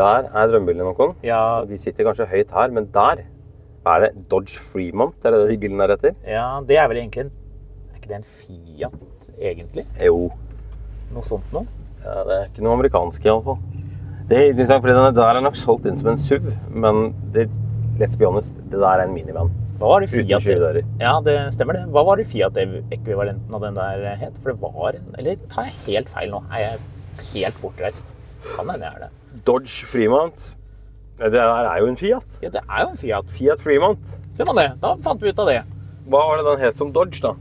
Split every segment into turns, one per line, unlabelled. Der er drømmebilen noen.
Ja.
Vi sitter kanskje høyt her, men der er det Dodge Fremont. Er det det de bilen er etter?
Ja, det er vel egentlig en Er ikke det en Fiat, egentlig?
Jo.
Noe sånt noe?
Ja, det er ikke noe amerikansk, iallfall. Det er interessant, fordi den der er nok solgt inn som en SUV, men det, let's be honest, det der er en minivan.
Hva var det
Uten
Fiat
skyvedører.
Ja, det stemmer det. Hva var det Fiat-ekvivalenten av den der het? For det var en Eller tar jeg helt feil nå? Er jeg helt bortreist? Kan hende jeg er det.
Dodge Fremont. Det der er jo en Fiat.
Ja, det er jo en Fiat.
Fiat Fremont.
Ser man det? Da fant vi ut av det.
Hva var det den het som Dodge, da?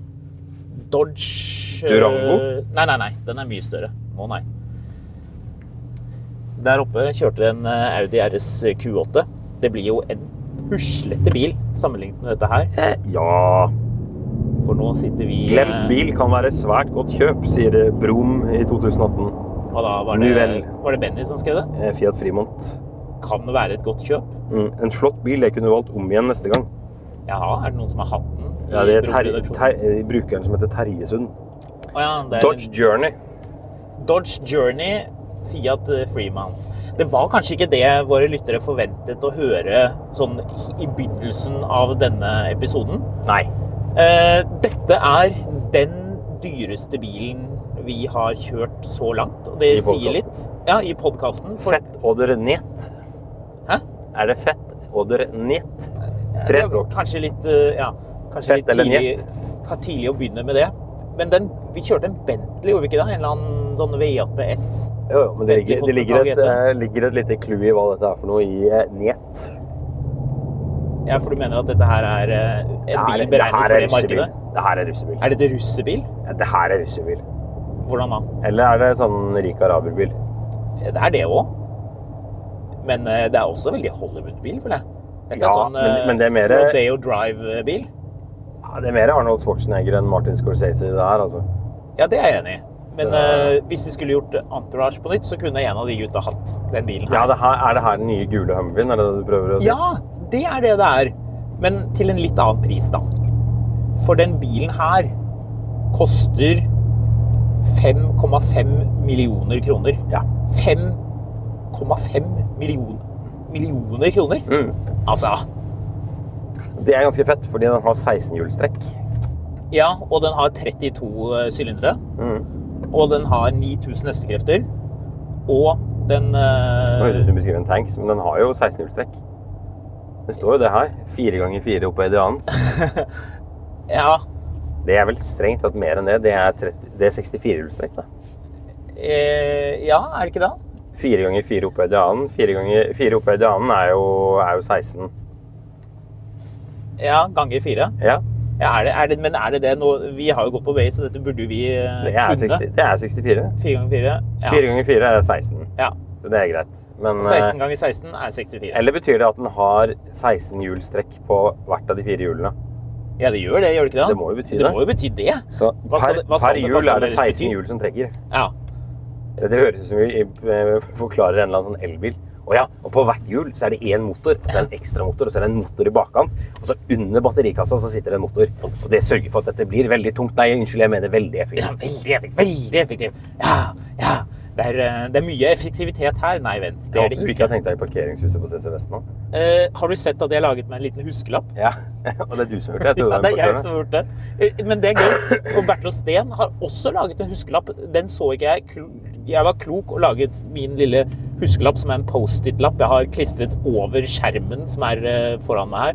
Dodge eh,
Durango?
Nei, nei, nei. Den er mye større. Å, nei. Der oppe kjørte det en eh, Audi RS Q8. Det blir jo en puslete bil sammenlignet med dette her.
Eh, ja
For nå sitter vi eh,
Glemt bil kan være svært godt kjøp, sier eh, Brum i 2018.
Og da var det,
Nuvel.
var det Benny som skrev det?
Eh, Fiat Fremont.
Kan det være et godt kjøp?
Mm. En flott bil jeg kunne valgt om igjen neste gang.
Jaha, er det noen som har hatt den? i
Ja, det er ter
Broredaksjonen?
ter eh, brukeren som heter Terjesund.
Å ja, det er
Dodge Journey.
en Dodge Journey, Fiat eh, Fremont. Det var kanskje ikke det våre lyttere forventet å høre sånn i begynnelsen av denne episoden.
Nei.
Eh, dette er den dyreste bilen vi har kjørt så langt, og det
I podcasten.
sier litt. Ja, i podkasten.
Fett oder net.
Hæ?
Er det fett oder net? Tre språk.
Kanskje litt, eh, ja, kanskje
Fett
litt
eller
tidlig,
njet?
ka- tidlig å begynne med det. Men den, vi kjørte en Bentley, gjorde vi ikke det? En eller annen sånn V8 S.
Jo, jo, men det ligger, det ligger, et,
Bentley-kontinental
eh, ligger et lite clou i hva dette er for noe i eh, net.
Ja, for du mener at dette her er eh, en
Det her-
bil
det her
beregnet
er
for det
russebil.
markedet?
Det her er russebil.
Er dette russebil?
Ja, Det her er russebil.
Hvordan da?
Eller er det sånn rik araberbil?
Det er det òg. Men eh, det er også veldig Hollywood-bil, føler jeg. Dette
Ja,
er sånn eh,
men- men det er mer-
Rodeo Drive-bil.
Ja, det er mer Arnold Schwarzenegger enn Martin Scorsese det her, altså.
Ja, det er jeg enig i. Men
Så-
eh, hvis de skulle gjort Entourage på nytt, så kunne en av de gutta hatt den bilen
Ja,
her.
det her, er det her den nye gule Humveyen? Er det det du prøver å si?
Ja, det er det det er. Men til en litt annen pris, da. For den bilen her koster 5,5 millioner kroner.
Ja.
5,5 million, millioner kroner?
Mm.
Altså
Det er ganske fett, fordi den har 16-hjulstrekk.
Ja, og den har 32 sylindere.
Mm.
Og den har 9000 hestekrefter. Og den eh,
Nå høres det ut som du beskriver en tanks, men den har jo 16-hjulstrekk. Det står jo det her. Fire ganger fire oppå Edianen.
Ja,
Det er vel strengt tatt mer enn det. Det er, 30, det er 64-hjulstrekk, da.
eh, ja, er det ikke det?
Fire ganger fire oppå Edianen. Fire ganger fire oppå Edianen er jo, er jo 16.
Ja, ganger fire.
Ja,
Ja, er det, er det, men er det det nå? Vi har jo gått på vei, så dette burde jo vi eh,
det er, 60, det er 64.
Fire ganger fire? Ja.
Fire ganger fire er 16,
ja.
så det er greit. Men,
16
eh,
ganger 16 er 64.
eller betyr det at den har 16 hjulstrekk på hvert av de fire hjulene?
Ja, det gjør det, gjør det ikke det?
Det må jo bety
Det
det.
må jo bety det.
Så
Hva skal
per,
det- hva skal
per
det- hva
hjul
skal
er det
det
16
bety?
hjul som trekker.
Ja.
Det høres ut som vi eh, forklarer en eller annen sånn elbil. Og ja, og på hvert hjul så er det én motor, og så er det en ekstra motor, og så er det en motor i bakkant. Og så under batterikassa så sitter det en motor. Og det sørger for at dette blir veldig tungt. Nei, unnskyld, jeg mener veldig
ja
effektivt.
veldig effektiv. Veldig effektiv. Ja, ja. Det er, eh, det er mye effektivitet her. Nei, vent.
Jeg
Det er
håper
det
du ikke
ikke.
har tenkt deg i parkeringshuset på CC Vest nå.
Eh, har du sett at jeg har laget meg en liten huskelapp?
Ja, og det er du som har gjort det. Jeg trodde
Ja, det
det var
er jeg
importøren.
som har gjort det. Eh, Men det er gøy, for Bertil og Steen har også laget en huskelapp. Den så ikke jeg. Kl- Jeg var klok og laget min lille huskelapp, som er en Post-It-lapp jeg har klistret over skjermen som er eh, foran meg her.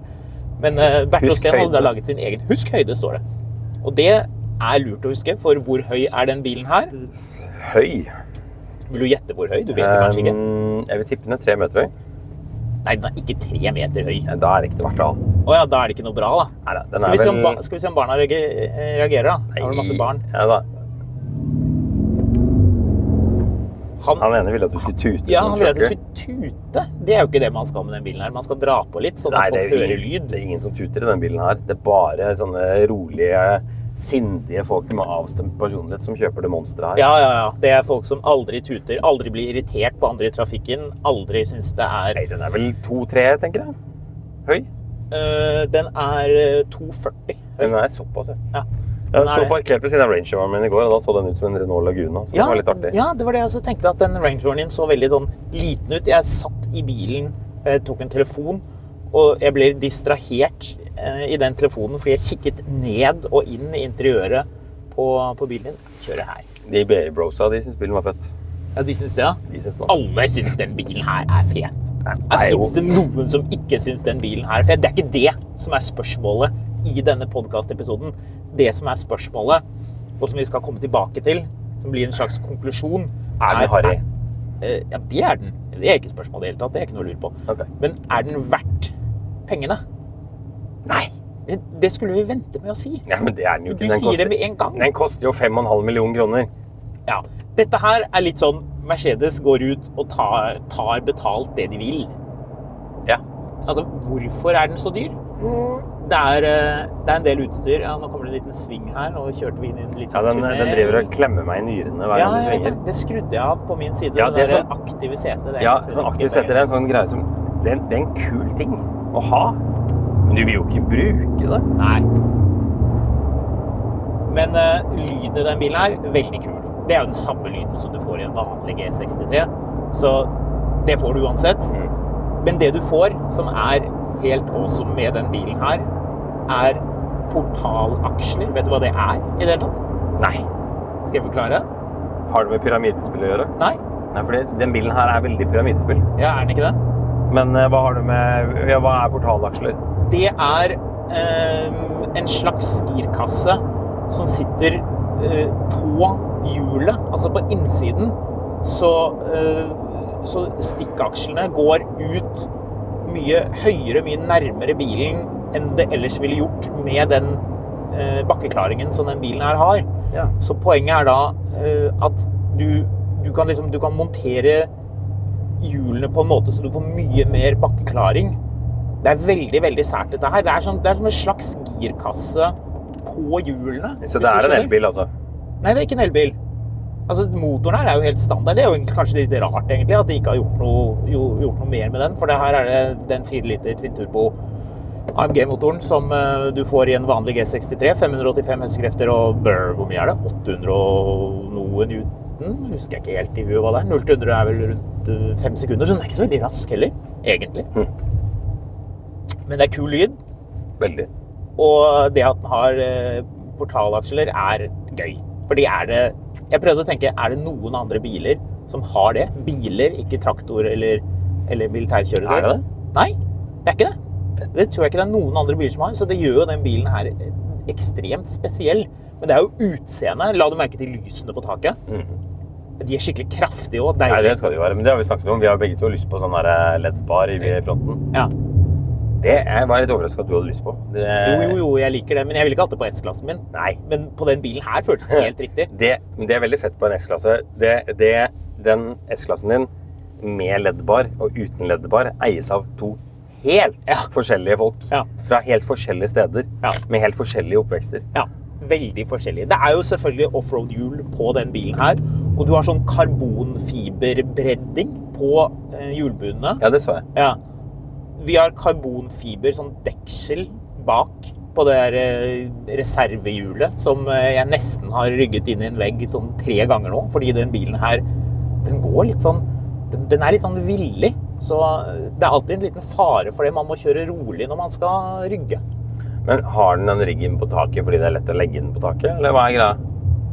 Men eh, Bertil og
Husk
Steen hadde da
høyde.
laget sin egen Husk høyde, står det. Og det er lurt å huske, for hvor høy er den bilen her?
Høy.
Vil du gjette hvor høy? Du vet det kanskje ikke.
Um, Jeg vil tippe den er tre meter høy.
Nei, den er ikke tre meter høy.
Ja, Da er det ikke til hvert fall.
Å ja, da er det ikke noe bra, da.
Nei, da, den
Skal vi,
er
se om
vel-
ba skal vi se om barna reager- reagerer, da? Her var det masse barn.
Ja, da.
Han,
Han ene ville at du skulle tute
Ja,
som
han
en
ville at jeg
trucker.
skulle tute. Det er jo ikke det man skal med den bilen her. Man skal dra på litt, sånn
Nei,
at
det er,
folk
jo
hører
ingen,
lyd.
det er ingen som tuter i denne bilen her. Det er bare sånne rolige, sindige folk med avstemt personlighet som kjøper det monsteret her.
Ja, ja, ja. Det er folk som aldri tuter, aldri blir irritert på andre i trafikken, aldri syns det er
Nei, den er vel 2-3, tenker jeg. Høy.
Øh, Den er øh, 240.
Den er såpass, ja.
Ja.
Jeg
Den er
så
det.
parkert ved siden av Range Roveren min i går, og da så den ut som en Renault Laguna. Så det var litt artig.
ja, det var det jeg også tenkte, at den Range Roveren din så veldig sånn liten ut. Jeg satt i bilen, eh, tok en telefon, og jeg ble distrahert eh, i den telefonen fordi jeg kikket ned og inn i interiøret på, på bilen din. Kjøre her.
De BA-brosa, de syns bilen var fett.
Ja, de syns det, ja.
De syns den var-
alle syns den bilen her er fet.
Nei,
Jeg
jo.
syns det noen som ikke syns den bilen her er fet. Det er ikke det som er spørsmålet i denne podkast-episoden. Det som er spørsmålet, og som vi skal komme tilbake til, som blir en slags konklusjon
Er den harry?
eh, Ja, det er den. Det er ikke spørsmål i det hele tatt. Det er ikke noe å lure på.
Ok.
Men er den verdt pengene? Nei. Det- Det skulle vi vente med å si.
Ja, men det er den jo
Du
ikke. Den
sier det
koster,
med en gang.
den koster jo 5,5 millioner kroner.
Ja. Dette her er litt sånn Mercedes går ut og tar, tar betalt det de vil.
Ja.
Altså, hvorfor er den så dyr? Det er, eh, det er en del utstyr. Ja, nå kommer det en liten sving her. Nå kjørte vi inn i en liten
Ja, den,
tunnel.
den driver og klemmer meg i nyrene hver
ja,
gang du
jeg vet
svinger.
det. Det skrudde jeg av på min side.
Ja,
det
det
der
som-
aktive setet. det er
Ja,
ganske
sånn aktiv
enkelt,
setter er en sånn greie som det er, en- det er en kul ting å ha, men du vil jo ikke bruke det.
Nei. Men eh, lyden i den bilen her, veldig kul. Det er jo den samme lyden som du får i en vanlig G63. Så det får du uansett. Men det du får, som er helt awesome med den bilen her, er portalaksjer. Vet du hva det er i det hele tatt?
Nei.
Skal jeg forklare?
Har det med pyramidespill å gjøre?
Nei,
Nei, for den bilen her er veldig pyramidespill.
ja, er den ikke det?
Men eh, hva har du med ja, Hva er portalaksler?
Det er eh, en slags girkasse som sitter eh, på hjulet, altså på innsiden. Så, eh, så stikkakslene går ut mye høyere, mye nærmere bilen enn det ellers ville gjort med den eh, bakkeklaringen som den bilen her har.
Ja.
Så poenget er da eh, at du, du, kan liksom, du kan montere hjulene på en måte så du får mye mer bakkeklaring. Det er veldig veldig sært, dette her. Det er, som- det er som en slags girkasse på hjulene.
Så
hvis
det
du
er en
skjønner.
elbil, altså?
Nei, det er ikke en elbil. Altså, Motoren her er jo helt standard. Det er jo egentlig kanskje litt rart egentlig at de ikke har gjort noe, jo, gjort noe mer med den. For det her er det den 4 liter twinturbo AMG-motoren som eh, du får i en vanlig G63. 585 hestekrefter og brr, hvor mye er det? 800 og noe newton? Husker jeg ikke helt i huet hva det er. 0 til 100 er vel rundt eh, fem sekunder, så den er ikke så veldig rask heller, egentlig. Men det er kul lyd.
Veldig.
Og det at den har eh, portalaksler er gøy. Fordi er det Jeg prøvde å tenke, er det noen andre biler som har det? Biler, ikke traktor eller, eller militærkjøretøy.
Er det det?
Nei, det er ikke det. Det tror jeg ikke det er noen andre biler som har, så det gjør jo den bilen her eh, ekstremt spesiell. Men det er jo utseendet. La du merke til lysene på taket? De er skikkelig kraftige og
Mhm. Nei,
deilige.
det skal det jo være. Men det har vi snakket om. Vi har begge to lyst på sånn der, eh, LED-bar i fronten.
Ja.
Det er, var jeg litt overraska at du hadde lyst på. Det,
Jo, jo, jo, jeg liker det, men jeg ville ikke hatt det på S-klassen min.
Nei.
Men på den bilen her føltes det helt riktig.
Det, men det er veldig fett på en S-klasse. Det, det, den S-klassen din med LED-bar og uten LED-bar eies av to helt
Ja.
forskjellige folk.
Ja.
Fra helt forskjellige steder
Ja.
med helt forskjellige oppvekster.
Ja, veldig forskjellig. Det er jo selvfølgelig offroad-hjul på den bilen her. Og du har sånn karbonfiberbredding på eh, hjulbunene.
Ja, det så jeg.
Ja. Vi har karbonfiber, sånn deksel, bak på det der eh, reservehjulet som eh, jeg nesten har rygget inn i en vegg sånn tre ganger nå, fordi den bilen her den går litt sånn den, den er litt sånn villig. Så eh, det er alltid en liten fare for det. Man må kjøre rolig når man skal rygge.
Men har den den riggen på taket fordi det er lett å legge den på taket, eller hva er greia?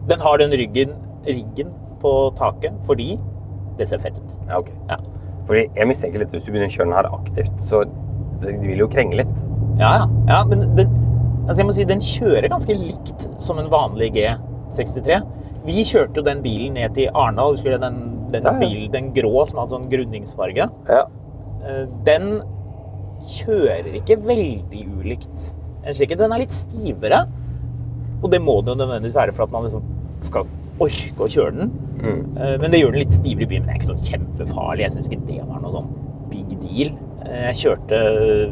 Den har den ryggen, riggen på taket fordi det ser fett ut.
Ja, ok. Ja. Fordi jeg mistenker litt hvis du begynner å kjøre den her aktivt, så det det vil jo krenge litt.
Ja, ja. ja men den, altså jeg må si, den kjører ganske likt som en vanlig G63. Vi kjørte jo den bilen ned til Arendal. Husker du den, den,
Ja, ja.
bilen- den grå som hadde sånn grunningsfarge?
Ja.
Eh, Den kjører ikke veldig ulikt en slik. Den er litt stivere. Og det må det jo nødvendigvis være for at man liksom skal orke å kjøre den.
Mm.
Eh, Men det gjør den litt stivere i byen. Men det er ikke sånn kjempefarlig. Jeg syns ikke det var noe sånn big deal. Eh, Jeg kjørte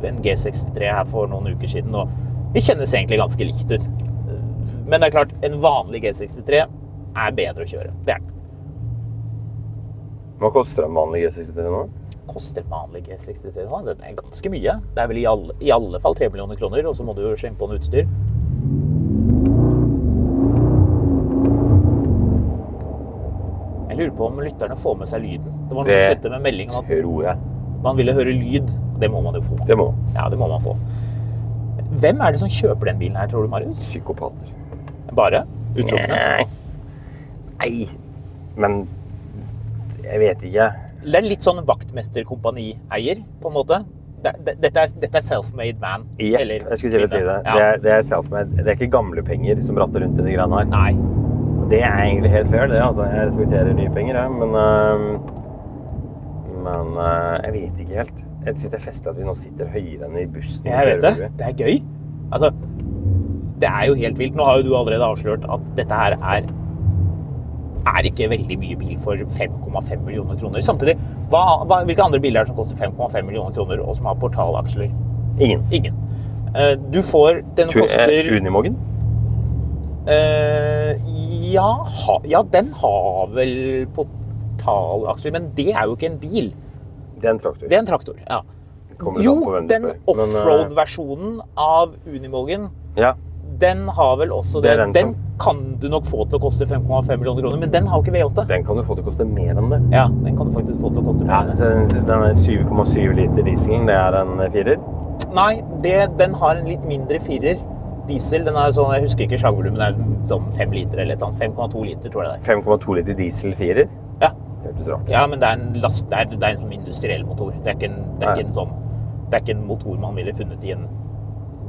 en G63 her for noen uker siden, og det kjennes egentlig ganske likt ut. Eh, Men det er klart, en vanlig G63 er bedre å kjøre. Det er den.
Hva koster en vanlig G63 nå?
Koster en vanlig G63 nå? Den er ganske mye. Det er vel i alle, i alle fall 3 millioner kroner, og så må du jo slenge på noe utstyr. Jeg lurer på om lytterne får med seg lyden. Det var noen
Det
som sendte med melding om at
Tror jeg.
Man ville høre lyd. og Det må man jo få.
Det må.
Ja, det må man få. Hvem er det som kjøper den bilen her, tror du, Marius?
Psykopater.
Bare? Utelukkende?
Nei. Men jeg vet ikke.
Det er litt sånn vaktmesterkompanieier, på en måte. Det, det, dette er, dette er self-made man.
Jepp,
eller
jeg skulle til å si det.
kvinne.
Det,
Ja.
er, det, er self-made. det er ikke gamle penger som ratter rundt i de greiene her.
Nei.
Det er egentlig helt fair, det. Altså, jeg respekterer nye penger, jeg. Men, øhm, men øh, jeg vet ikke helt. Jeg syns det er festlig at vi nå sitter høyere enn i bussen.
Jeg vet det. Det er gøy. Altså, det er jo helt vilt. Nå har jo du allerede avslørt at dette her er, er ikke veldig mye bil for 5,5 millioner kroner. Samtidig, hva, hva, hvilke andre biler er det som koster 5,5 millioner kroner, og som har portalaksjer?
Ingen.
Ingen. Eh, Du får Den
Tur, eh,
koster
Unimogen?
eh, ja, ha, ja, den har vel portalaksjer, men det er jo ikke en bil.
Det er en traktor.
Det er en traktor. ja.
Kommer
Jo,
an på hvem du
den
spør. Men, øh,
offroad-versjonen av Unimogen
Ja.
Den har vel også
Det
det.
er
Den,
den som-
kan du nok få til å koste 5,5 millioner kroner, men den har jo ikke V8.
Den kan du få til å koste mer enn det.
Ja, den kan du faktisk få til å koste
Ja,
mer. enn det.
så den den er 7,7 liter dieselen, det er en firer.
Nei, det, den har en litt mindre firer diesel. Den er sånn, jeg husker ikke slagvolumet, det er sånn 5 liter eller et eller annet. 5,2 liter, tror jeg det er.
5,2 liter diesel firer.
Ja,
Det hørtes rart ut.
ja men det er en last, det er, det er en sånn industriell motor. Det er ikke en, det er ikke en sånn, det er ikke en motor man ville funnet i en,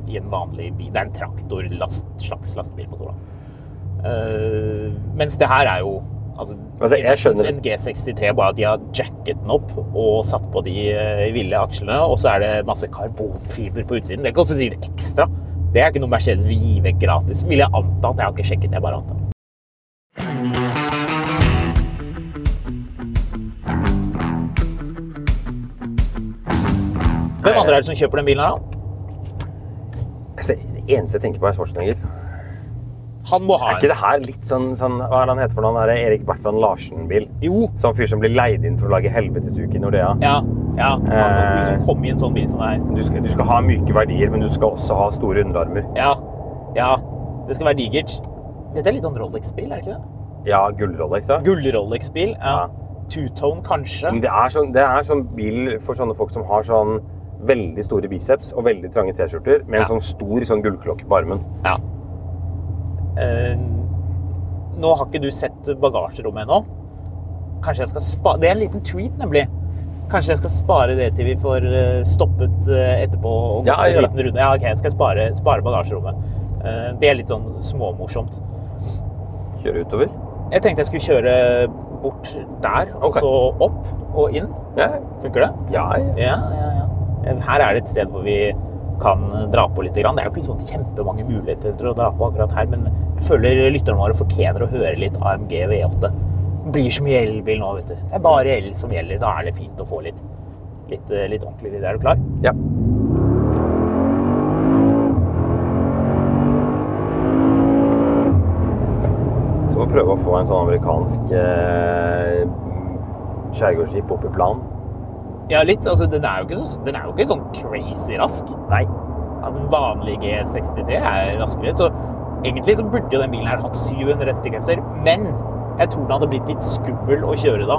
i en vanlig bil. Det er en traktor, last, slags lastebilmotor da. Eh, mens det her er jo, altså,
Altså, jeg
jeg synes
skjønner-
en G63 bare at de har jacket den opp og satt på de eh, ville akslene, og så er det masse karbonfiber på utsiden. Det koster sikkert ekstra. Det er ikke noe Mercedes vil gi vekk gratis, vil jeg anta. Jeg har ikke sjekket, jeg bare antar. Hvem andre er det som kjøper den bilen her da?
Altså, det eneste jeg tenker på, er Schwarzenegger.
Han må ha
Er ikke
en.
det her litt sånn, sånn Hva er det han heter for noe? Han er Erik Bertrand Larsen-bil.
Jo.
Sånn fyr som blir leid inn for å lage helvetesuke i Nordea.
Ja, ja. Han må liksom
Eh.
komme i en sånn bil som det her.
Du, skal, du skal ha myke verdier, men du skal også ha store underarmer.
Ja, ja. Det skal være digert. Dette er litt sånn Rolex-bil, er det ikke det?
Ja, gullrolle, ikke sant?
Gull-Rolex-bil. Ja.
Ja.
Two-tone, kanskje.
Men Det er, sånn, det er sånn bil for sånne folk som har sånn veldig store biceps og veldig trange T-skjorter med en
Ja.
sånn stor sånn gullklokke på armen.
Ja. Eh, nå har ikke du sett bagasjerommet ennå. Kanskje jeg skal spa... Det er en liten tweet, nemlig. Kanskje jeg skal spare det til vi får eh, stoppet eh, etterpå og gått
Ja,
en
gjør det.
liten runde. Ja, ok, jeg skal spare, spare bagasjerommet. Eh, det er litt sånn småmorsomt.
Kjøre utover.
Jeg tenkte jeg skulle kjøre bort der, og
Ok.
så opp og inn.
Ja,
Funker det?
ja. ja.
Ja, ja, ja. Her er det et sted hvor vi kan dra på litt. grann. Det er jo ikke sånn kjempemange muligheter til å dra på akkurat her, men jeg føler lytterne våre fortjener å høre litt AMG V8. Det blir så mye elbil nå, vet du. Det er bare el som gjelder. Da er det fint å få litt, litt, eh, litt ordentlig lyd. Er du klar?
ja. Så må vi prøve å få en sånn amerikansk eh, skjærgårdsskip opp i plan.
Ja, litt. Altså, den er jo ikke, så, den er jo ikke sånn crazy rask.
Nei.
Ja, Den vanlige G63 er raskere, så egentlig så burde jo den bilen her hatt 700 hestekrefter, men jeg tror den hadde blitt litt skummel å kjøre da.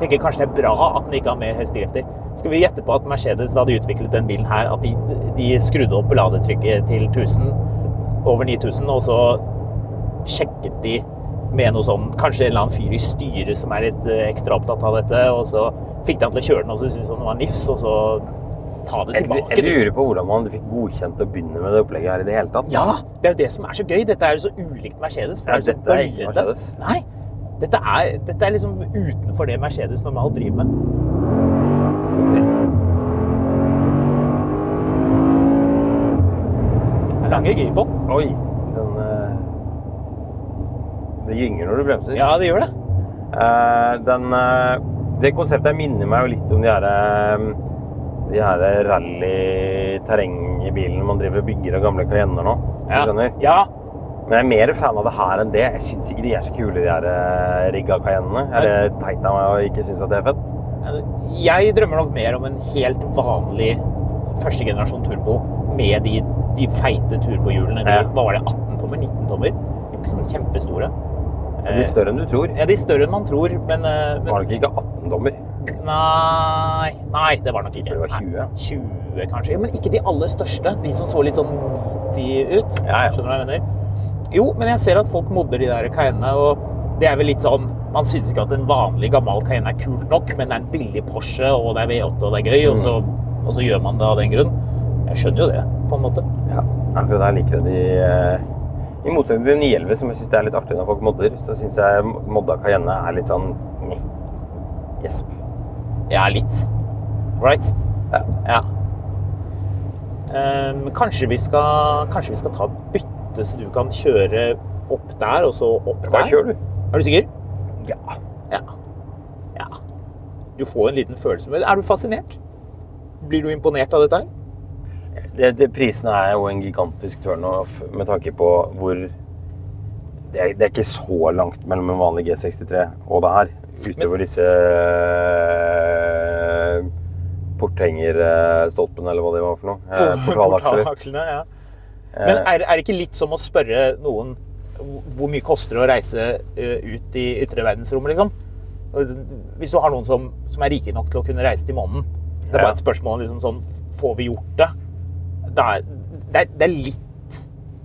tenker kanskje det er bra at den ikke har mer hestekrefter. Skal vi gjette på at Mercedes da de utviklet den bilen her, at de, de skrudde opp ladetrykket til 1000, over 9000, og så sjekket de med noe sånn Kanskje en eller annen fyr i styret som er litt eh, ekstra opptatt av dette, og så fikk de han til å kjøre den, og så syntes han den var nifs, og så ta det
Jeg,
tilbake.
jeg
du.
lurer på hvordan man fikk godkjent å begynne med det opplegget her i det hele tatt.
Ja, det er jo det som er så gøy. Dette er jo så ulikt Mercedes. for
Ja,
det er jo så
dette er ikke
bøyde.
Mercedes.
Nei, dette er, dette er liksom utenfor det Mercedes normalt driver med. Det er lange girbånd.
Oi, den eh, Det gynger når du bremser.
Ja, det gjør det.
Eh, den, eh, det konseptet her minner meg jo litt om de her, eh, de her rally-terrengbilene man driver og bygger av gamle Cayenner nå. hvis
Ja.
Du skjønner?
Ja,
Men jeg er mer fan av det her enn det. Jeg syns ikke de er så kule, de her eh, rigga Cayennene. Er det teit av meg å ikke synes at det er fett?
jeg drømmer nok mer om en helt vanlig første generasjon turbo med de, de feite turbohjulene. De,
Ja.
Hva var det, 18 tommer? 19 tommer? De er Ikke sånn kjempestore.
Er
Eh.
de større enn du tror?
Ja, de er større enn man tror, men, eh, men
Var det ikke 18 dommer?
Nei, nei, det var nok ikke.
Det var 20.
Nei, 20 kanskje. Ja, men ikke de aller største. De som så litt sånn meaty ut.
Ja, ja.
Skjønner du hva jeg mener? Jo, men jeg ser at folk modder de der Cayennene, og det er vel litt sånn Man syns ikke at en vanlig gammel Cayenne er kult nok, men det er en billig Porsche, og det er V8, og det er gøy, og, så,
Mm.
og så gjør man det av den grunn. Jeg skjønner jo det, på en måte.
Ja, akkurat der liker jeg de eh, I motsetning til 911, som jeg syns det er litt artig når folk modder, så syns jeg modda Cayenne er litt sånn meh. gjesp.
Ja, litt. Right?
Ja.
Ja. Ehm, kanskje, vi skal, kanskje vi skal ta et bytte, så du kan kjøre opp der, og så opp der?
Bare kjør, du.
Er du sikker?
Ja.
Ja. ja. Du får en liten følelse med det. Er du fascinert? Blir du imponert av dette her?
Det, det, prisene er jo en gigantisk turnoff med tanke på hvor det er, det er ikke så langt mellom en vanlig G63 og det her. Utover disse eh, porthengerstolpene, eller hva det var for noe. Eh, Portalaksjer.
Portalakslene, ja. Men er, er det ikke litt som å spørre noen hvor hvor mye koster det å reise ø, ut i ytre verdensrommet, liksom? Hvis du har noen som, som er rike nok til å kunne reise til månen, det er
Ja.
bare et spørsmål liksom sånn Får vi gjort det? Det er, det, er, det er litt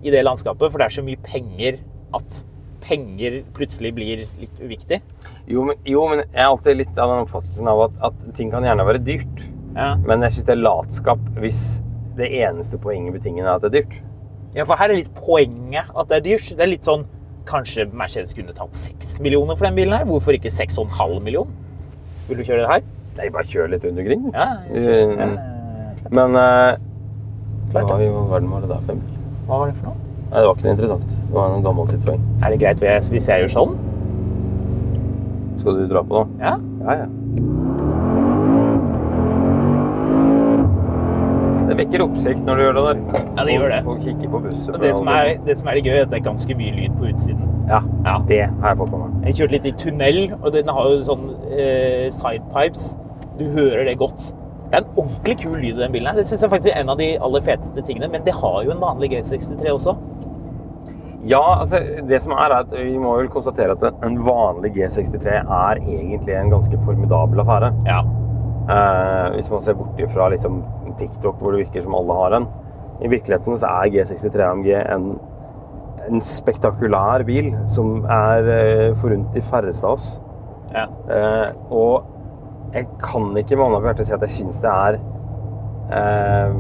i det landskapet, for det er så mye penger at penger plutselig blir litt uviktig.
Jo, men, jo, men jeg er alltid litt av den oppfattelsen av at, at ting kan gjerne være dyrt.
Ja.
Men jeg syns det er latskap hvis det eneste poenget i betingen er at det er dyrt.
Ja, for her er litt poenget at det er dyrt. Det er litt sånn Kanskje Mercedes kunne tatt 6 millioner for den bilen her? Hvorfor ikke 6,5 million? Vil du kjøre det her?
Nei, bare kjør litt rundt omkring. du.
Ja, jeg
Eh, Men eh,
Klart
hva
det.
i all verden var det der for en bil?
Hva var det for noe?
Nei, det var ikke noe interessant. Det var en gammel Citroën.
Er det greit hvis- hvis jeg gjør sånn?
Skal du dra på nå?
Ja.
Ja, ja. Det vekker oppsikt når du gjør det der.
Ja, det gjør det.
Folk kikker på bussen.
Og det som er det, som er det gøye, er at det er ganske mye lyd på utsiden.
Ja,
Ja.
det har jeg fått med meg.
Jeg kjørte litt i tunnel, og den har jo sånn eh, sidepipes. Du hører det godt. Det er en ordentlig kul lyd i den bilen her. Det synes jeg faktisk er en av de aller feteste tingene, men det har jo en vanlig G63 også.
Ja, altså det som er er at vi må vel konstatere at en- en vanlig G63 er egentlig en ganske formidabel affære.
Ja.
Eh, hvis man ser bort fra liksom, TikTok, hvor det virker som alle har en. I virkeligheten så er G63 AMG en, en spektakulær bil som er eh, forunt de færreste av oss.
ja.
Eh, og jeg kan ikke med hånda på hjertet si at jeg syns det er eh,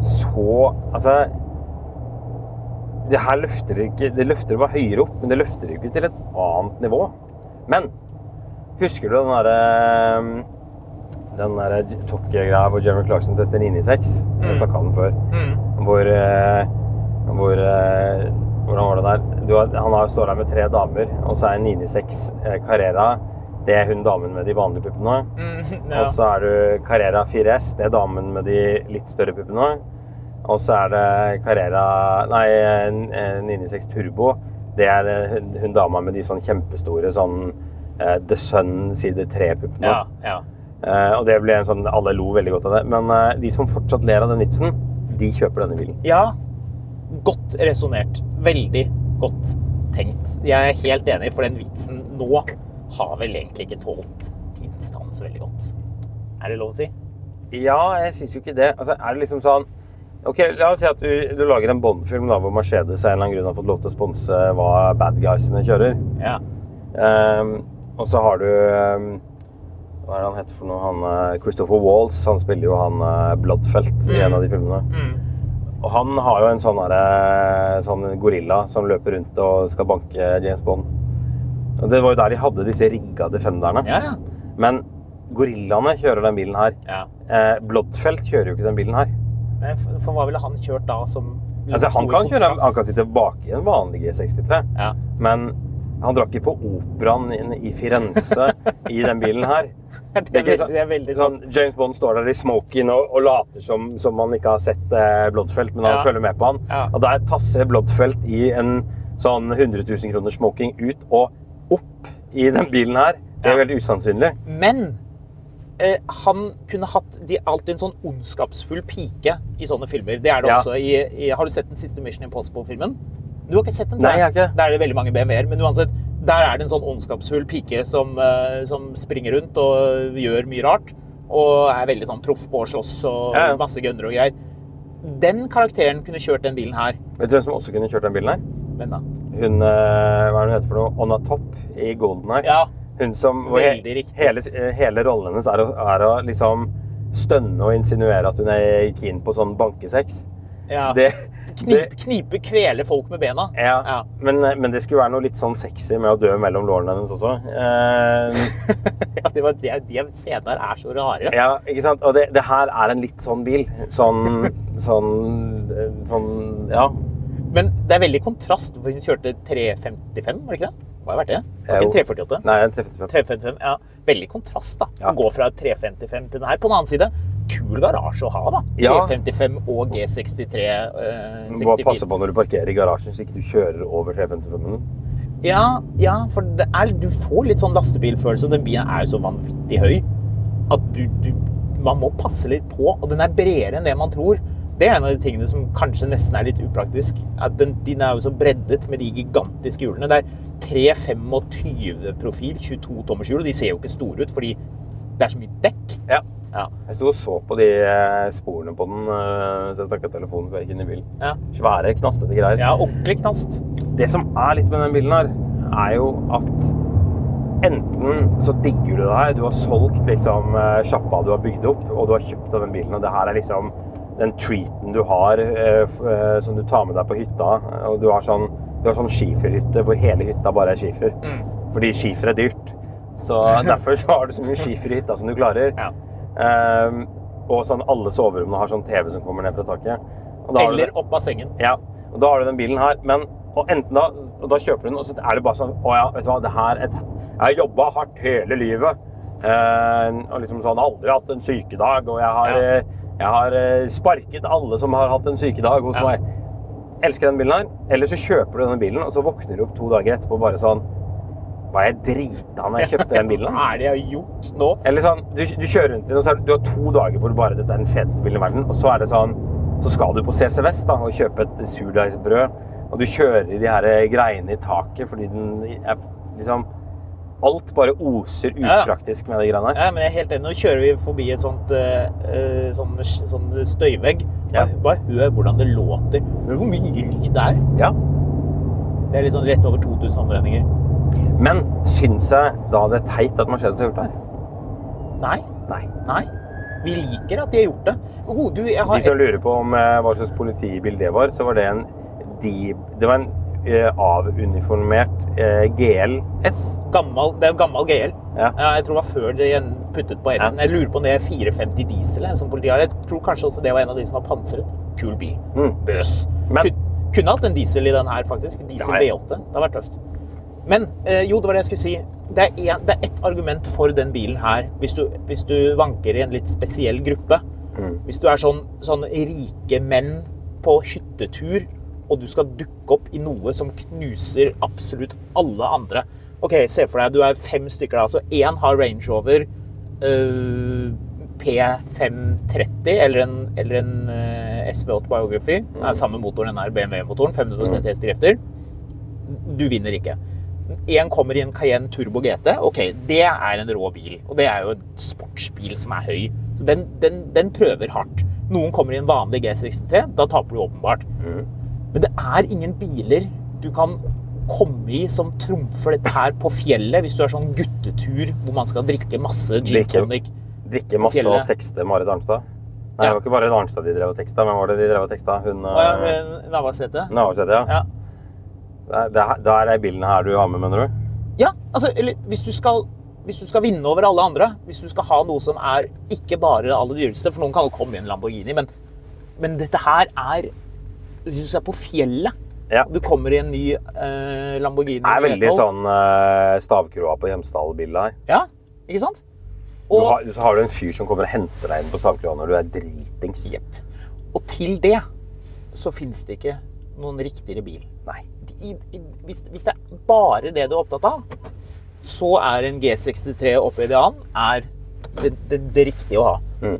så Altså Det her løfter ikke Det løfter bare høyere opp, men det løfter ikke til et annet nivå. Men husker du den derre eh, den der Top Gear-greia hvor Jeremy Clarkson tester 996? Vi snakka om den før. Hvor, eh, hvor eh, Hvordan var det der? Du, har- han har, står der med tre damer, og så er 996 eh, Carrera. Det er hun damen med de vanlige puppene.
Mm,
Og
Altså,
så er du Carrera 4S. Det er damen med de litt større puppene. Og så er det Carrera Nei, eh, 996 Turbo. Det er eh, hun, hun dama med de sånn kjempestore sånn eh, The Sun side 3-puppene.
Ja, ja.
Eh, og det ble en sånn, Alle lo veldig godt av det. Men eh, de som fortsatt ler av den vitsen, de kjøper denne bilen.
Ja, godt resonert. Veldig godt tenkt. Jeg er helt enig, for den vitsen nå har vel egentlig ikke tålt tilstand så veldig godt. Er det lov å si?
Ja, jeg syns jo ikke det. Altså, er det liksom sånn Ok, La oss si at du, du lager en Bond-film da, hvor Mercedes av en eller annen grunn har fått lov til å sponse hva bad guysene kjører.
Ja.
Ehm, og så har du ehm, Hva er det han heter for noe? Han, eh, Christopher Walls. Han spiller jo han eh, Bloodfelt i en av de filmene. Og han har jo en sånn, derre- sånn gorilla som løper rundt og skal banke James Bond. Og Det var jo der de hadde disse rigga defenderne.
Ja, ja.
Men gorillaene kjører den bilen her.
ja.
Eh, Blodfelt kjører jo ikke den bilen her.
Men for, for hva ville han kjørt da som
Altså, han,
stor
kan kjøre,
kontrast?
han kan sitte bak i en vanlig G63,
Ja.
men han drakk ikke på operaen inn i Firenze i den bilen her.
Det
ikke
er veldig- det er veldig
sånn, James Bond står der i smoking og, og later som, som han ikke har sett eh, Blodfelt, men han
Ja.
følger med på han.
Ja.
Og der tasser Blodfelt i en sånn 100 000 kroner smoking ut og opp i den bilen her. Det er jo
Ja.
helt usannsynlig.
Men eh, han kunne hatt de, alltid en sånn ondskapsfull pike i sånne filmer. Det er det
Ja.
også i, i Har du sett den siste Mission Impossible-filmen? Du har ikke sett den?
Nei,
tror
jeg har ikke.
Der er det veldig mange BMW-er. Men uansett, der er det en sånn ondskapsfull pike som, eh, som springer rundt og gjør mye rart. Og er veldig sånn proff på å slåss og
Ja, ja.
masse gønnere og greier. Den karakteren kunne kjørt den bilen her.
Vet du hvem som også kunne kjørt den bilen her?
Men da.
Hun, eh, hva er det hun heter for noe? Onna Topp i Golden Eye.
Ja.
Hun som hvor he-
Veldig riktig.
hele, eh, hele rollen hennes er å, er å liksom stønne og insinuere at hun er keen på sånn bankesex.
ja.
Det, det,
Knipe, knipe, kvele folk med bena.
ja.
Ja.
Men, eh, men det skulle være noe litt sånn sexy med å dø mellom lårene hennes også. Eh,
Ja, det var det, de scenene her er så rare.
ja, ikke sant? Og det, det her er en litt sånn bil. Sånn Sånn, eh, sånn Ja.
Men det er veldig kontrast, for hun kjørte 355, var det ikke det? Hva har vært det? Var
Jo.
det ikke en 348?
Nei, jeg treffer ikke.
355, ja. Veldig kontrast, da.
Ja.
Å gå fra 355 til den her. På den annen side, kul garasje å ha, da.
Ja.
355 og G63 eh,
Du må
64.
passe på når du parkerer i garasjen, så ikke du kjører over 355-en.
Ja, ja, for det er, du får litt sånn lastebilfølelse. Den bilen er jo så vanvittig høy at du, du Man må passe litt på, og den er bredere enn det man tror. Det er en av de tingene som kanskje nesten er litt upraktisk. At den, den er jo så breddet med de gigantiske hjulene. Det er 325-profil, 22 tommers hjul, og de ser jo ikke store ut fordi det er så mye dekk.
Ja.
Ja.
Jeg sto og så på de eh, sporene på den, eh, så jeg snakka telefonen før jeg gikk inn i bilen.
Ja.
Svære, knastete greier.
ja ordentlig knast.
Det som er litt med den bilen her, er jo at enten så digger du det her, du har solgt liksom eh, sjappa du har bygd opp, og du har kjøpt denne bilen, og det her er liksom den treaten du har eh, f- eh, som du tar med deg på hytta, og du har sånn, du har sånn skiferhytte hvor hele hytta bare er skifer.
Mm.
Fordi skifer er dyrt. Så derfor så har du så mye skifer i hytta som du klarer.
Ja.
Ehm, og sånn alle soverommene har sånn TV som kommer ned fra taket. Og da har du-
Eller opp av sengen.
ja, og da har du den bilen her, men og enten da, og da kjøper du den, og så er det bare sånn Å ja, vet du hva, det her er et, Jeg har jobba hardt hele livet. Eh, og liksom sånn Aldri hatt en sykedag, og jeg har,
Ja.
eh, jeg har eh, sparket alle som har hatt en sykedag hos
Ja.
meg. Elsker den bilen her. Eller så kjøper du denne bilen, og så våkner du opp to dager etterpå bare sånn Var jeg drita når jeg kjøpte den bilen?
Hva er det jeg har gjort nå?
Eller sånn, du, du kjører rundt i den, og så er, det- du har to dager hvor du bare dette er den feteste bilen i verden, og så er det sånn, så skal du på CC Vest da, og kjøpe et surdeigsbrød, og du kjører i de her greiene i taket, fordi den er liksom, alt bare oser
Ja, ja.
upraktisk med de greiene her.
Ja, men jeg er helt enig. Nå kjører vi forbi et sånt eh, eh, sånn, sånn støyvegg.
Ja.
Bare, bare hør hvordan det låter. Hør hvor mye lyd det er.
Ja.
Det er litt sånn rett over 2000 omdreininger.
Men synes jeg da det er teit at Mercedes har gjort det her?
Nei.
Nei.
Nei. Vi liker at de har gjort det. Jo, du, jeg
De
har
som lurer på om eh, hva slags politibil det var, så var det en, de, det var en eh, avuniformert eh, GLS.
et gammel, det er jo gammel GL.
Ja.
jeg tror det var før de igjen puttet på S-en. Jeg lurer på om det er 450 diesel jeg, som politiet har. Jeg tror kanskje også det var en av de som var pansret. Kul bil.
Mm.
Bøs.
Men-
Kun, kunne hatt en diesel i den her, faktisk. Diesel
Ja, ja.
V8. Det hadde vært tøft. Men eh, jo, det var det jeg skulle si. Det er, en, det er ett argument for den bilen her, hvis du, hvis du vanker i en litt spesiell gruppe. Hvis du er sånn, sånn rike menn på hyttetur, og du skal dukke opp i noe som knuser absolutt alle andre. Ok, se for deg, du er fem stykker da, så én har Range Rover eh, P530, eller en, eller en eh, SV8 Biography. Det er samme motor, den her BMW-motoren, 530 hestekrefter du vinner ikke. Én kommer i en Cayenne Turbo GT. Ok, det er en rå bil. Og det er jo en sportsbil som er høy. Så den, den, den prøver hardt. Noen kommer i en vanlig G63. Da taper du åpenbart. Men det er ingen biler du kan komme i som trumfer dette her på fjellet hvis du er sånn guttetur hvor man skal drikke masse gin
Drikke-
tonic.
Drikke masse
fjellet.
og tekste Marit Arnstad. Nei,
Ja.
det var ikke bare Arnstad de drev og teksta. Hvem var det de drev og teksta? Hun
Å ja,
eh,
eh, Navarsete?
Navarsete, ja.
Ja.
Det er- Det er, det er de bildene her du har med, mener du?
Ja, altså, eller hvis du skal hvis du skal vinne over alle andre, hvis du skal ha noe som er ikke bare det aller dyreste For noen kan jo komme i en Lamborghini, men, men dette her er Hvis du er på fjellet
Ja.
og Du kommer i en ny eh, Lamborghini
Det er veldig
V12.
sånn eh, stavkroa på Hjemsdal-bildet her.
Ja, ikke sant?
Du
Og,
har, så har du en fyr som kommer og henter deg inn på stavkroa når du er dritings.
Jepp. og til det så fins det ikke noen riktigere bil.
Nei.
i, i, hvis, hvis det er bare det du er opptatt av, så er en G63 oppe i det an er det, det, det riktige å ha.
Mm.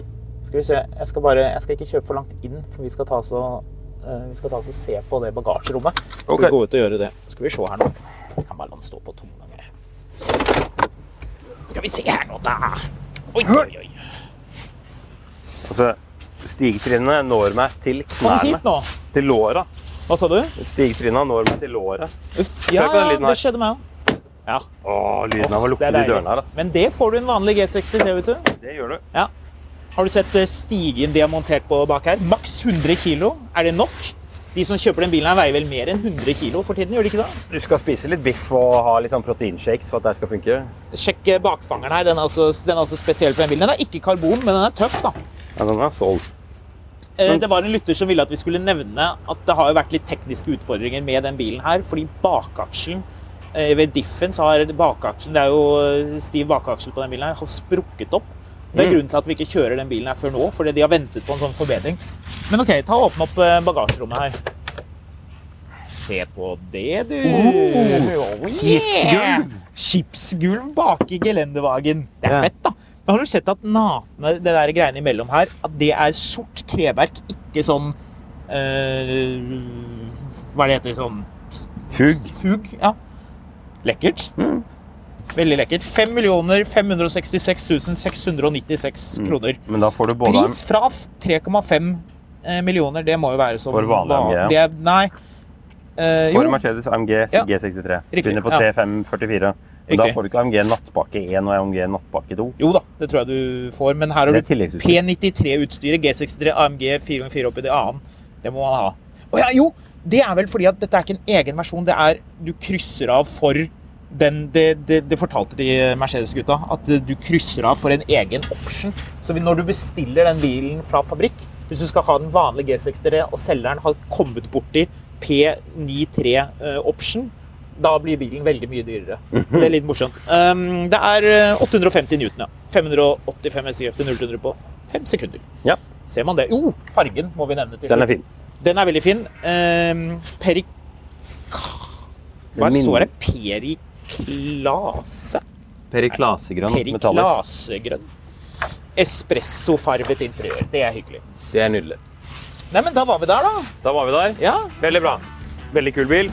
Skal vi se, jeg skal, bare, jeg skal ikke kjøpe for langt inn, for vi skal ta oss og, eh, vi skal ta oss og se på det bagasjerommet. Skal
Ok.
vi gå ut og gjøre det? Skal vi se her nå. Jeg kan bare la den stå på to ganger. Skal vi se her nå, da. Oi, oi, oi.
Altså, stigtrinnene når meg til
Kom hit
knærne.
nå.
Til låra.
Hva sa du?
Stigtrinnene når meg til låra.
Uff, ja,
Hør på den lyden her.
det skjedde meg òg. Ja.
Å, lyden av å
det
lukke
er
de
deilig.
dørene her, altså.
Men det får du i en vanlig G63, vet du.
Det gjør du.
Ja. Har du sett eh, stigen de har montert på bak her? Maks 100 kilo. Er det nok? De som kjøper den bilen her veier vel mer enn 100 kilo for tiden, gjør de ikke det?
Du skal spise litt biff og ha litt sånn proteinshakes for at det her skal funke.
Sjekk eh, bakfangeren her. Den er, også, den er også spesiell for den bilen. Den er ikke karbon, men den er tøff, da.
Ja, den er solgt.
Eh, Det var en lytter som ville at vi skulle nevne at det har jo vært litt tekniske utfordringer med den bilen her, fordi bakaksjen eh, ved diffen så har bakaksjen, det er jo eh, stiv bakaksel på den bilen her, har sprukket opp. Det er grunnen til at vi ikke kjører den bilen her før nå, fordi de har ventet på en sånn forbedring. Men ok, ta og åpne opp eh, bagasjerommet her. Se på det, du! Oh,
skipsgulv.
Skipsgulv bak i gelendevagen. Det er
Ja.
fett, da. Men har du sett at natene, det der greiene imellom her, at det er sort treverk, ikke sånn eh, Hva er det heter? Sånn
Fugg.
fug? Ja. Lekkert.
Mm.
Veldig lekkert. 5 566 696
Mm.
kroner.
Men da får du både
Pris fra f- 3,5 eh, millioner, det må jo være som
For vanlig
van-
MG,
det, er- Nei. Eh,
For
jo,
Mercedes AMG
Ja.
G63.
Riktig,
Begynner på
ja.
3544. Men da
Riktig.
får du ikke AMG Nattpakke 1 og AMG Nattpakke 2.
jo da, det tror jeg du får. Men her har
Det er
du
tilleggsutstyr.
P93-utstyret, G63, AMG 4x4 oppi det annen. Det må man ha. Å ja, jo! Det er vel fordi at dette er ikke en egen versjon. Det er du krysser av for den Det, det, det fortalte de Mercedes-gutta. At du krysser av for en egen option. Så vi- når du bestiller den bilen fra fabrikk Hvis du skal ha den vanlige G63, og selgeren har kommet borti eh, P93-option, da blir bilen veldig mye dyrere. Det er litt morsomt. Um, det er eh, 850 newton, ja. 585 SIF-til 0-100 på 5 sekunder.
Ja,
Ser man det? Jo, fargen må vi nevne til
den er
slutt.
fin.
Den er veldig fin. Um, peri... Hva
Den
står det?
minner-
Periklase?
Periklasegrønn metaller.
Periklasegrønn. Espressofarvet interiør. Det er hyggelig.
Det er nydelig.
Nei, men da var vi der, da.
Da var vi der.
Ja.
Veldig bra. Veldig kul bil.